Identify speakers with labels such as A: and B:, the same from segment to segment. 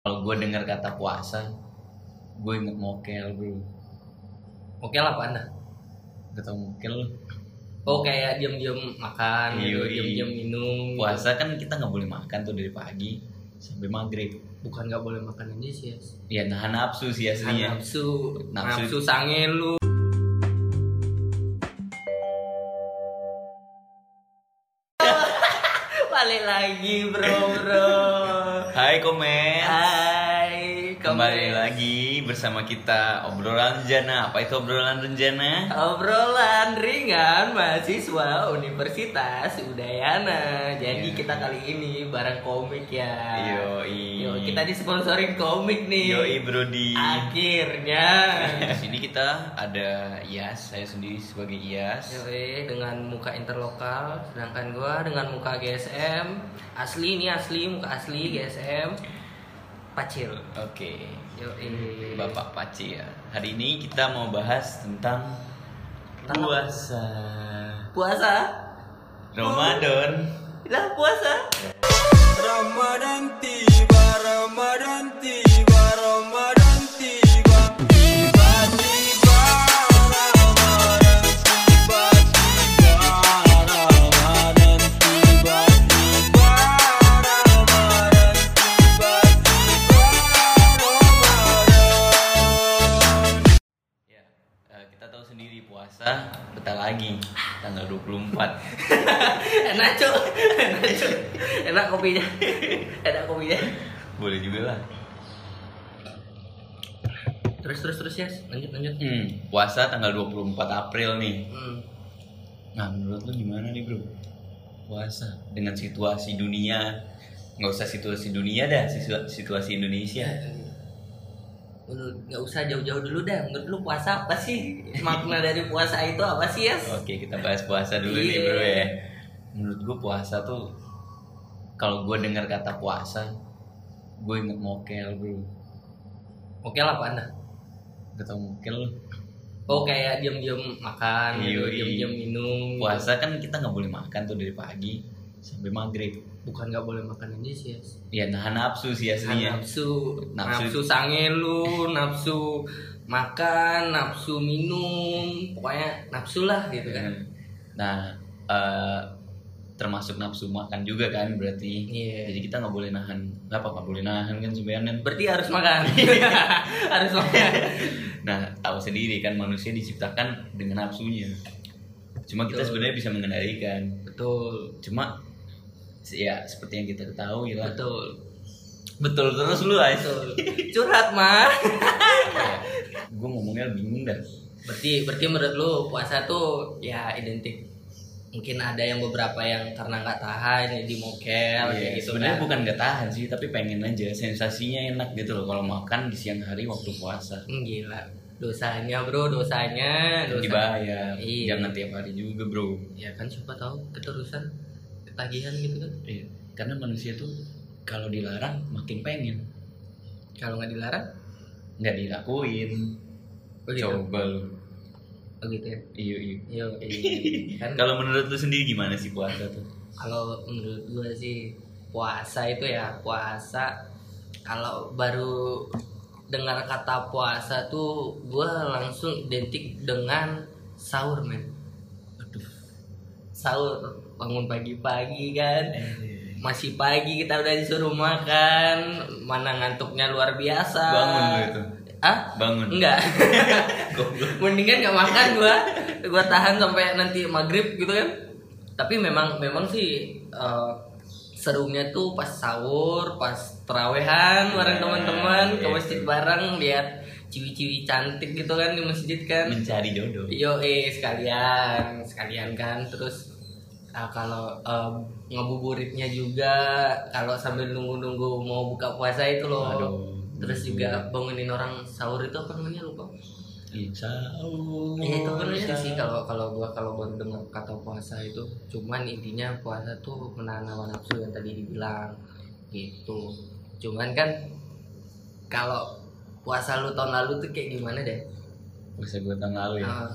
A: Kalau gue dengar kata puasa, gue inget mokel bro.
B: Oke lah apa anda?
A: Gak tau mokel lu.
B: Oh kayak diam-diam makan, gitu,
A: Yoi.
B: diam-diam minum. gitu.
A: Puasa kan kita nggak boleh makan tuh dari pagi sampai maghrib.
B: Bukan nggak boleh makan aja sih. Yes.
A: Ya nahan nafsu sih aslinya.
B: Nafsu,
A: Nafsu.
B: nafsu sange lu. Balik lagi bro bro.
A: Hai komen.
B: Hai,
A: Kembali lagi bersama kita obrolan rencana. Apa itu obrolan rencana?
B: Obrolan ringan mahasiswa Universitas Udayana.
A: Iya.
B: Jadi kita kali ini bareng komik ya.
A: Yoi.
B: Yo, kita disponsorin komik nih.
A: Yoi Brody.
B: Akhirnya.
A: Di sini kita ada Yas, saya sendiri sebagai Yas.
B: Yoi, eh, dengan muka interlokal, sedangkan gua dengan muka GSM. Asli ini asli, muka asli GSM. Pacil. eh.
A: Oke.
B: Yoi.
A: Bapak Paci ya. Hari ini kita mau bahas tentang
B: Tentang apa?
A: puasa.
B: Puasa?
A: Ramadan.
B: Lah puasa.
C: Ramadan tiba, Ramadan tiba, Ramadan tiba, tiba tiba Ramadan tiba, tiba Ramadan tiba, tiba Ramadan tiba, tiba Ramadan.
A: Ya, eh, kita tahu sendiri puasa betah lagi tanggal 24.
B: enak cok enak cok enak kopinya enak kopinya
A: Boleh juga lah.
B: terus terus terus ya lanjut lanjut
A: Hmm, puasa tanggal 24 April nih.
B: hmm.
A: Nah, menurut lu gimana nih, Bro? Puasa dengan situasi dunia. Nggak usah situasi dunia dah, situ- situasi Indonesia.
B: Iya. menurut nggak usah jauh-jauh dulu dah menurut lu puasa apa sih makna dari puasa itu apa sih ya
A: Oke, kita bahas puasa dulu nih,
B: Iya.
A: Bro ya. Menurut gue puasa tuh kalau gue dengar kata puasa, gue inget mokel, Bro.
B: oke lah apa anda
A: Gak tau mokel lu.
B: oh kayak diam-diam makan gitu,
A: Yoi.
B: diam-diam minum gitu.
A: puasa kan kita nggak boleh makan tuh dari pagi sampai maghrib
B: bukan nggak boleh makan aja sih Yas.
A: ya nahan nafsu sih aslinya
B: nafsu
A: Nafsu.
B: nafsu sange lu nafsu makan nafsu minum pokoknya nafsu lah gitu kan
A: nah eh, termasuk nafsu makan juga kan berarti
B: iya
A: jadi kita nggak boleh nahan nggak apa nggak boleh nahan kan sebenarnya
B: Berarti harus makan. harus makan.
A: nah tahu sendiri kan manusia diciptakan dengan nafsunya cuma kita
B: Betul.
A: sebenarnya bisa mengendalikan
B: Betul.
A: cuma ya seperti yang kita gitu. ketahui lah
B: Betul.
A: betul terus lu guys
B: Betul. Curhat, mah.
A: gue ngomongnya bingung dah
B: Berarti berarti menurut lu puasa tuh ya identik mungkin ada yang beberapa yang karena nggak tahan jadi mokel kayak
A: Iya,
B: gitu
A: sebenarnya
B: kan.
A: bukan nggak tahan sih, tapi pengen aja sensasinya enak gitu loh kalau makan di siang hari waktu puasa.
B: Hmm, gila. Dosanya, Bro, dosanya. dosanya.
A: Dibayar,
B: Iya.
A: jangan tiap hari juga bro.
B: Ya kan siapa tahu keterusan ketagihan gitu kan.
A: Iya. Karena manusia tuh kalau dilarang makin pengen,
B: Kalau nggak dilarang,
A: nggak dilakuin.
B: oh gitu.
A: Coba lo.
B: Oh gitu ya.
A: Iya iya.
B: Yo, iya. kan
A: Kalau menurut lu sendiri gimana sih puasa tuh?
B: kalau menurut gue sih puasa itu ya puasa kalau baru dengar kata puasa tuh gue langsung identik dengan sahur men
A: Aduh.
B: sahur bangun pagi-pagi kan masih pagi kita udah disuruh makan mana ngantuknya luar biasa
A: Bangun lo itu.
B: ah
A: Bangun.
B: enggak
A: Goblok.
B: mendingan nggak makan gua gua tahan sampai nanti maghrib gitu kan tapi memang memang sih eh, serunya tuh pas sahur pas terawehan
A: Nah,
B: bareng teman-teman ke
A: iya
B: masjid
A: tuh.
B: bareng lihat ciwi-ciwi cantik gitu kan di masjid kan
A: Mencari jodoh.
B: yo eh sekalian sekalian kan terus ah, kalau eh, ngebuburitnya juga kalau sambil nunggu-nunggu mau buka puasa itu loh
A: Aduh.
B: terus juga bangunin orang sahur itu apa namanya lupa
A: Insya Allah.
B: Iya itu benar sih kalau kalau gua kalau baru dengar kata puasa itu cuman intinya puasa tuh menahan hawa nafsu yang tadi dibilang gitu cuman kan kalau puasa lu tahun lalu tuh kayak gimana deh
A: Puasa gue tahun lalu ya.
B: Ah,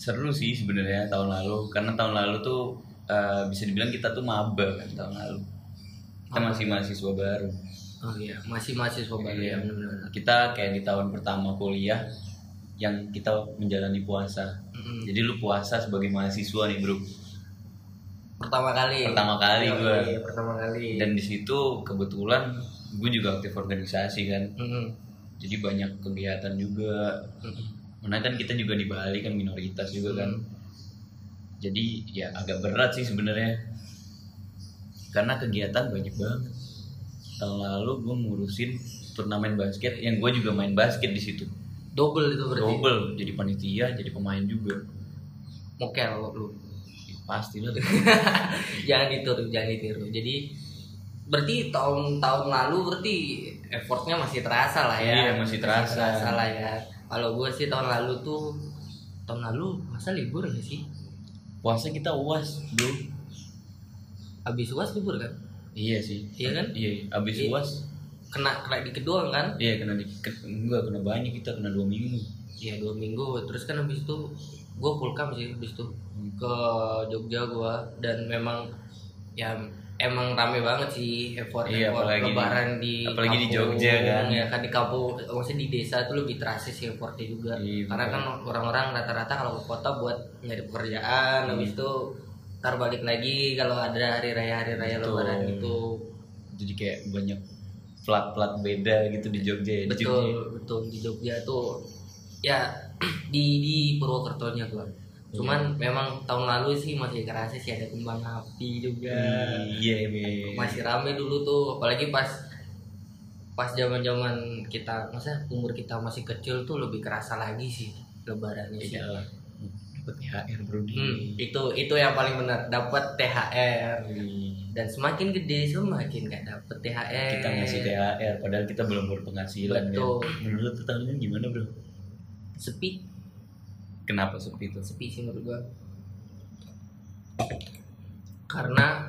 A: seru sih sebenarnya tahun lalu karena tahun lalu tuh eh, bisa dibilang kita tuh maba kan tahun lalu kita masih mahasiswa baru
B: oh iya masih mahasiswa baru ya
A: Iya.
B: benar-benar
A: Kita kayak di tahun pertama kuliah yang kita menjalani puasa.
B: Mm-mm.
A: Jadi lu puasa sebagai mahasiswa nih bro.
B: pertama kali
A: Pertama kali
B: Iya,
A: gua.
B: iya, pertama kali
A: Dan di situ kebetulan gue juga aktif organisasi kan.
B: Mm-mm.
A: Jadi banyak kegiatan juga.
B: Mm-mm.
A: Karena kan kita juga di Bali kan minoritas juga
B: Hmm.
A: kan. Jadi ya agak berat sih sebenarnya. Karena kegiatan banyak banget. Tahun lalu gue ngurusin turnamen basket yang gue juga main basket di situ.
B: double itu berarti
A: Double, jadi panitia, jadi pemain juga.
B: mokel lu, lu.
A: Ya, pasti lah.
B: jangan ditiru jangan ditiru jadi berarti tahun-tahun lalu berarti effortnya masih terasa lah ya
A: Iya, masih terasa.
B: lah ya kalau gue sih tahun lalu tuh tahun lalu masa libur gak sih
A: Puasa kita uas, bro.
B: abis uas libur kan
A: Iya sih.
B: iya kan
A: Iya, abis
B: Iya.
A: uas.
B: kena kena di kedua kan
A: Iya kena di, ke- enggak kena banyak kita kena dua minggu.
B: Iya dua minggu terus kan habis itu gue pulkam sih habis itu
A: Hmm.
B: ke Jogja gue dan memang ya emang rame banget sih effort
A: Iya,
B: effort
A: apalagi di-
B: lebaran di,
A: apalagi di Jogja kan.
B: ya kan di kampung maksudnya di desa tuh lebih terasa sih effortnya juga
A: Iya, betul.
B: karena kan orang-orang rata-rata kalau ke kota buat nyari pekerjaan
A: Hmm.
B: habis itu ntar balik lagi kalau ada hari raya hari raya
A: Betul.
B: lebaran gitu. itu
A: Jadi kayak banyak plat-plat beda gitu di Jogja. ya. Di
B: betul
A: Jogja.
B: betul di Jogja tuh ya di di Purwokertonya gua
A: Iya.
B: cuman memang tahun lalu sih masih kerasa sih ada kembang api juga
A: Iya, iya, iya.
B: masih rame dulu tuh apalagi pas pas zaman zaman kita masa umur kita masih kecil tuh lebih kerasa lagi sih lebarannya sih
A: Iya lah. Dapat THR bro di. Iya.
B: Hmm, itu itu yang paling benar dapat THR dan semakin gede semakin nggak dapet THR
A: Kita ngasih THR padahal kita belum berpenghasilan ya.
B: Eh. Betul.
A: Menurut lu tahun ini gimana bro?
B: sepi
A: Kenapa seperti itu?
B: sepi sih menurut gua karena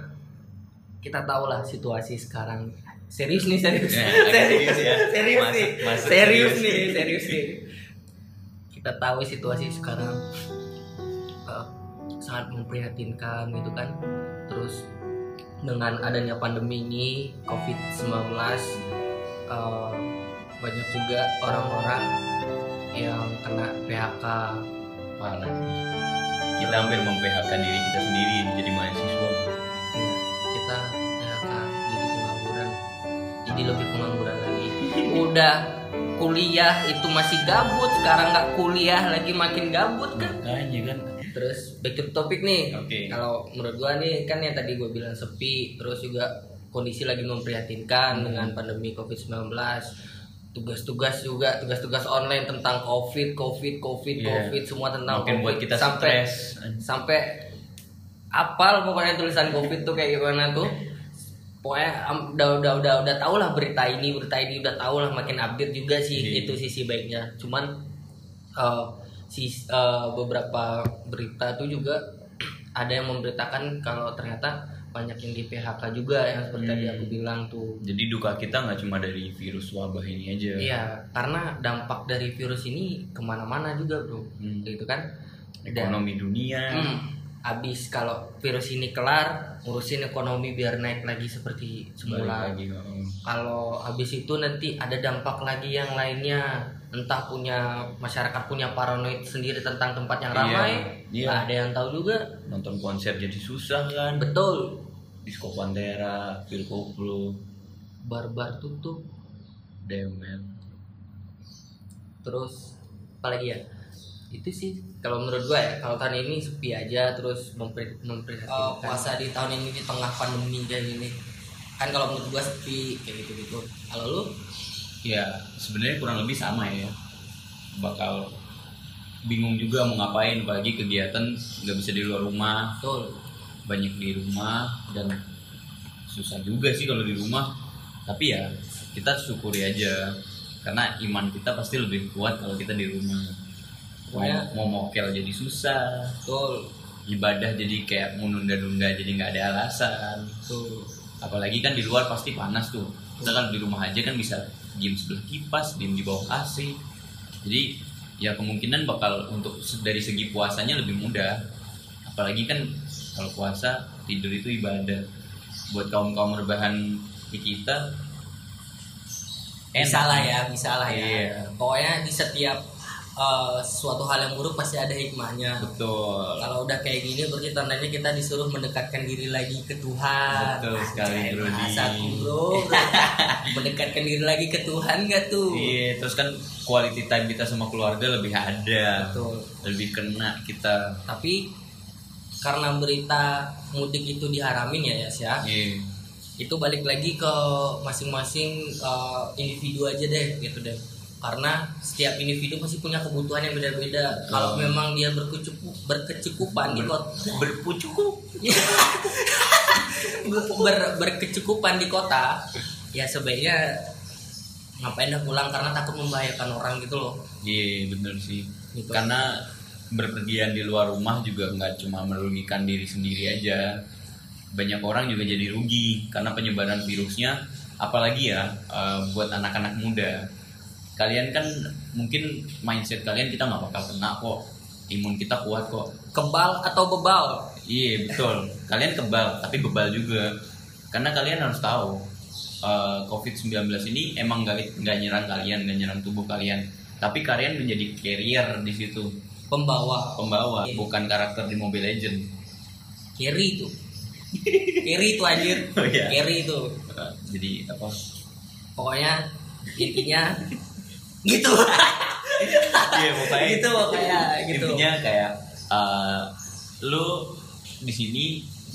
B: kita tahu lah situasi sekarang serius nih serius
A: Ya, agak serius
B: serius
A: ya.
B: serius
A: Masuk-
B: nih
A: masuk serius.
B: serius nih serius nih kita tahu situasi sekarang eh, sangat memprihatinkan gitu kan terus dengan adanya pandemi ini COVID-19 eh, banyak juga orang-orang yang kena PHK
A: Parah. Kita hampir memphk diri kita sendiri jadi mahasiswa.
B: Iya, kita PHK jadi pengangguran jadi lebih pengangguran lagi udah kuliah itu masih gabut sekarang nggak kuliah lagi makin gabut kan
A: Makanya kan.
B: terus back to topik nih
A: Oke.
B: kalau menurut gua nih kan yang tadi gua bilang sepi terus juga kondisi lagi
A: Hmm.
B: memprihatinkan dengan pandemi covid 19 tugas-tugas juga tugas-tugas online tentang covid covid covid
A: Iya.
B: covid semua tentang
A: Makin
B: covid
A: buat kita
B: sampai
A: stres.
B: sampai apal pokoknya tulisan covid tuh kayak gimana tuh pokoknya am- udah udah udah udah tau lah berita ini berita ini udah tau lah makin update juga sih
A: Iya.
B: itu sisi baiknya cuman eh, si eh, beberapa berita tuh juga ada yang memberitakan kalau ternyata banyak yang di PHK juga yang seperti tadi
A: Hmm.
B: aku bilang tuh
A: Jadi duka kita nggak cuma dari virus wabah ini aja.
B: iya karena dampak dari virus ini kemana-mana juga bro
A: Hmm.
B: gitu kan Dan-
A: Ekonomi dunia.
B: Hmm, abis kalau virus ini kelar, ngurusin ekonomi biar naik lagi seperti
A: balik
B: semula.
A: lagi. heeh.
B: Kalau abis itu nanti ada dampak lagi yang lainnya, entah punya masyarakat punya paranoid sendiri tentang tempat yang
A: Iya,
B: ramai,
A: iya.
B: Nggak ada yang tahu juga.
A: Nonton konser jadi susah kan.
B: Betul,
A: Disco Pantera, Phil Koplo,
B: barbar tutup,
A: damn man.
B: terus apalagi ya? Itu sih kalau menurut gua ya, kalau tahun ini sepi aja terus mempri- memprihatinkan. Oh, puasa di tahun ini di tengah pandemi kayak gini. Kan kalau menurut gua sepi kayak gitu-gitu. Kalau lu
A: Ya sebenarnya kurang lebih sama ya. Bakal bingung juga mau ngapain pagi kegiatan nggak bisa di luar rumah
B: Betul.
A: banyak di rumah dan susah juga sih kalau di rumah tapi ya kita syukuri aja karena iman kita pasti lebih kuat kalau kita di rumah mau,
B: Pokoknya-
A: mau mokel jadi susah
B: Betul.
A: ibadah jadi kayak menunda-nunda jadi nggak ada alasan
B: Betul.
A: apalagi kan di luar pasti panas tuh kita kan di rumah aja kan bisa diem sebelah kipas diem di bawah AC jadi ya kemungkinan bakal untuk se- dari segi puasanya lebih mudah apalagi kan kalau puasa tidur itu ibadah buat kaum kaum rebahan di kita Enak.
B: bisa lah ya bisa lah ya
A: Iya.
B: pokoknya di setiap eh, suatu hal yang buruk pasti ada hikmahnya
A: Betul.
B: kalau udah kayak gini berarti tandanya kita disuruh mendekatkan diri lagi ke Tuhan Ah,
A: Betul sekali,
B: Anjay,
A: Brody.
B: bahasaku, bro mendekatkan diri lagi ke Tuhan gak tuh
A: Iya, terus kan quality time kita sama keluarga lebih ada.
B: Betul.
A: Lebih kena kita.
B: tapi karena berita mudik itu diharamin ya Yas, ya
A: Iya.
B: itu balik lagi ke masing-masing eh, individu aja deh gitu deh karena setiap individu pasti punya kebutuhan yang beda-beda kalau memang dia berkecukup berkecukupan di kota
A: Berpucuku.
B: ber- berkecukupan di kota ya sebaiknya ngapain dah pulang karena takut membahayakan orang gitu loh
A: Iya, bener sih.
B: Gitu.
A: Karena berpergian di luar rumah juga nggak cuma merugikan diri sendiri aja. Banyak orang juga jadi rugi karena penyebaran virusnya. Apalagi ya eh, buat anak-anak muda. Kalian kan mungkin mindset kalian kita nggak bakal kena kok. Imun kita kuat kok.
B: kebal atau bebal
A: Iya betul. Kalian kebal tapi bebal juga. Karena kalian harus tahu eh, COVID-19 ini emang nggak nggak nyerang kalian, nggak nyerang tubuh kalian. Tapi kalian menjadi carrier di situ,
B: pembawa
A: pembawa,
B: Iya.
A: bukan karakter di Mobile Legend.
B: kiri itu kiri itu anjir
A: Oh, iya.
B: kiri itu
A: Eh, Jadi apa?
B: pokoknya intinya gitu
A: Iya pokoknya.
B: gitu pokoknya gitu
A: Intinya kayak eh, lu di sini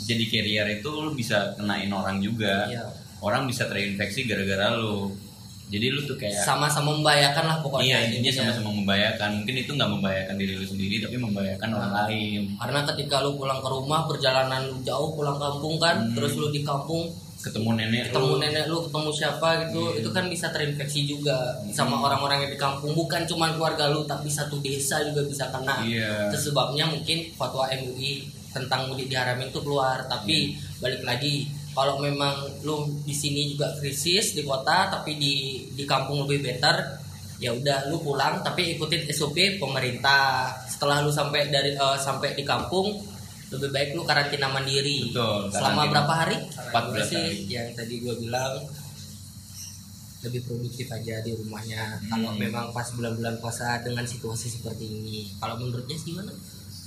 A: jadi carrier itu lu bisa kenain orang juga.
B: Iya.
A: Orang bisa terinfeksi gara-gara lu. Jadi lu tuh kayak
B: sama-sama membahayakan lah pokoknya
A: Iya, intinya
B: intinya.
A: sama-sama membahayakan. Mungkin itu nggak membahayakan diri lu sendiri, tapi membahayakan orang lain.
B: karena ketika lu pulang ke rumah perjalanan lu jauh pulang kampung
A: Hmm.
B: kan terus lu di kampung
A: Ketemu nenek
B: ketemu
A: lu.
B: nenek lu ketemu siapa gitu itu kan bisa terinfeksi juga sama orang-orang yang di kampung bukan cuma keluarga lu tapi satu desa juga bisa kena
A: Iya.
B: itu sebabnya mungkin fatwa MUI tentang mudik diharamin itu keluar tapi
A: Iya.
B: balik lagi kalau memang lu di sini juga krisis di kota tapi di di kampung lebih better ya udah lu pulang tapi ikutin SOP pemerintah setelah lu sampai dari eh, sampai di kampung lebih baik lu karantina mandiri
A: Betul,
B: selama
A: karantina.
B: berapa hari
A: 14
B: sih
A: hari.
B: yang tadi gue bilang lebih produktif aja di rumahnya kalau
A: Hmm.
B: memang pas bulan-bulan puasa dengan situasi seperti ini kalau menurutnya sih gimana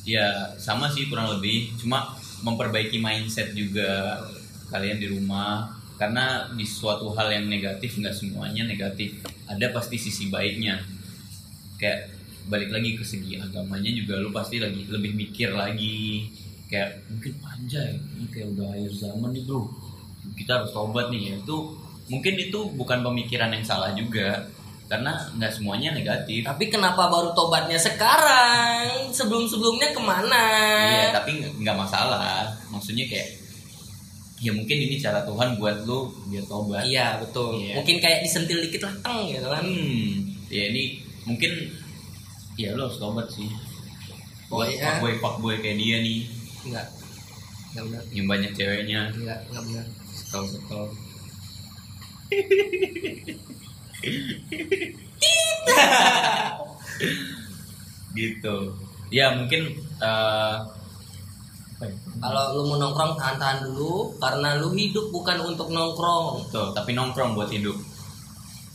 A: Ya, sama sih kurang lebih. Cuma memperbaiki mindset juga kalian di rumah. Karena di suatu hal yang negatif nggak semuanya negatif. Ada pasti sisi baiknya. Kayak balik lagi ke segi agamanya juga lu pasti lagi lebih mikir lagi. Kayak mungkin anjay, ini kayak udah akhir zaman nih, Bro. Kita harus tobat nih ya. Itu mungkin itu bukan pemikiran yang salah juga. Karena nggak semuanya negatif.
B: tapi kenapa baru tobatnya sekarang sebelum-sebelumnya kemana
A: Iya,
B: kan.
A: tapi nggak- nggak masalah. Maksudnya kayak ya mungkin ini cara Tuhan buat lu biar tobat.
B: Iya, betul
A: Iya.
B: mungkin kayak disentil dikit lah teng gitu kan
A: Hmm, ya ini mungkin ya lu harus tobat sih. Iya, Buat
B: Pokoknya-
A: fuckboy fuckboy kayak dia nih
B: enggak enggak benar
A: yang banyak ceweknya.
B: enggak enggak benar
A: Sekal sekal. gitu. Ya mungkin eh, apa ya?
B: kalau lu mau nongkrong tahan-tahan dulu karena lu hidup bukan untuk nongkrong
A: Betul, tapi nongkrong buat hidup.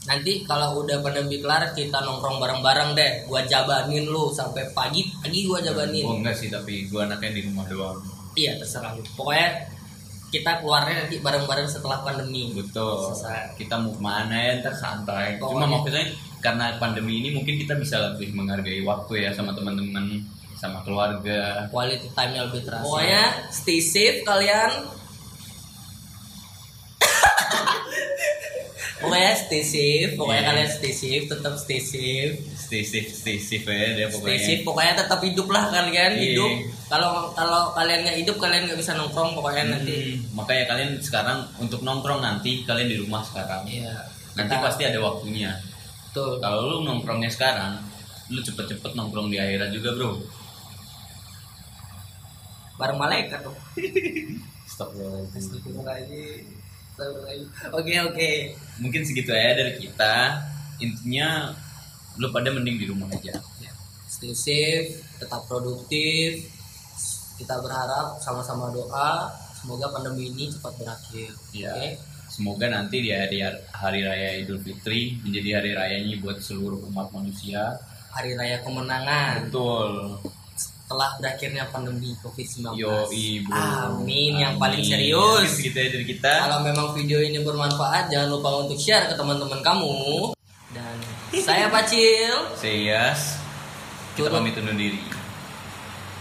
B: Nanti kalau udah pandemi kelar kita nongkrong bareng-bareng deh. Gua jabanin lu sampai pagi, pagi gua jabanin.
A: Gue Oh, enggak sih, tapi gue anaknya di rumah doang.
B: Iya terserah lu. Pokoknya kita keluarnya nanti bareng-bareng setelah pandemi.
A: Betul.
B: Selesai. Oh, iya.
A: Kita mau kemana ya, ntar santai. Cuma
B: Pokoknya-
A: maksudnya karena pandemi ini mungkin kita bisa lebih menghargai waktu ya sama teman-teman, sama keluarga.
B: Quality time-nya lebih terasa. Pokoknya stay safe kalian. pokoknya stay safe, pokoknya
A: Iya.
B: kalian stay safe, tetap stay safe.
A: Stay safe, stay safe ya dia
B: Stay
A: pokoknya.
B: safe, pokoknya tetap hidup lah kalian
A: Iya.
B: hidup. Kalau kalau kalian nggak hidup kalian nggak bisa nongkrong pokoknya kan nanti.
A: Hmm, makanya kalian sekarang untuk nongkrong nanti kalian di rumah sekarang.
B: Iya.
A: Nanti
B: Kita-
A: pasti ada waktunya.
B: Betul.
A: Kalau lu nongkrongnya sekarang, lu cepet-cepet nongkrong di akhirat juga bro.
B: bareng malaikat tuh
A: Stop
B: oke oke
A: Mungkin segitu aja dari kita. Intinya lu pada mending di rumah aja.
B: stay safe Ya, tetap produktif kita berharap sama-sama doa semoga pandemi ini cepat berakhir
A: Iya.
B: oke
A: Semoga nanti di hari, hari raya Idul Fitri menjadi hari rayanya buat seluruh umat manusia.
B: Hari Raya Kemenangan
A: Betul.
B: setelah berakhirnya pandemi COVID-19.
A: Yoi bro.
B: Amin, yang paling
A: Amin.
B: serius.
A: Gitu ya dari kita.
B: Kalau memang video ini bermanfaat, jangan lupa untuk share ke teman-teman kamu. Dan saya Pacil,
A: Say yes. Kita
B: Turut.
A: pamit undur diri.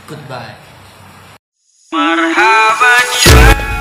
B: goodbye.
C: Marhaban ya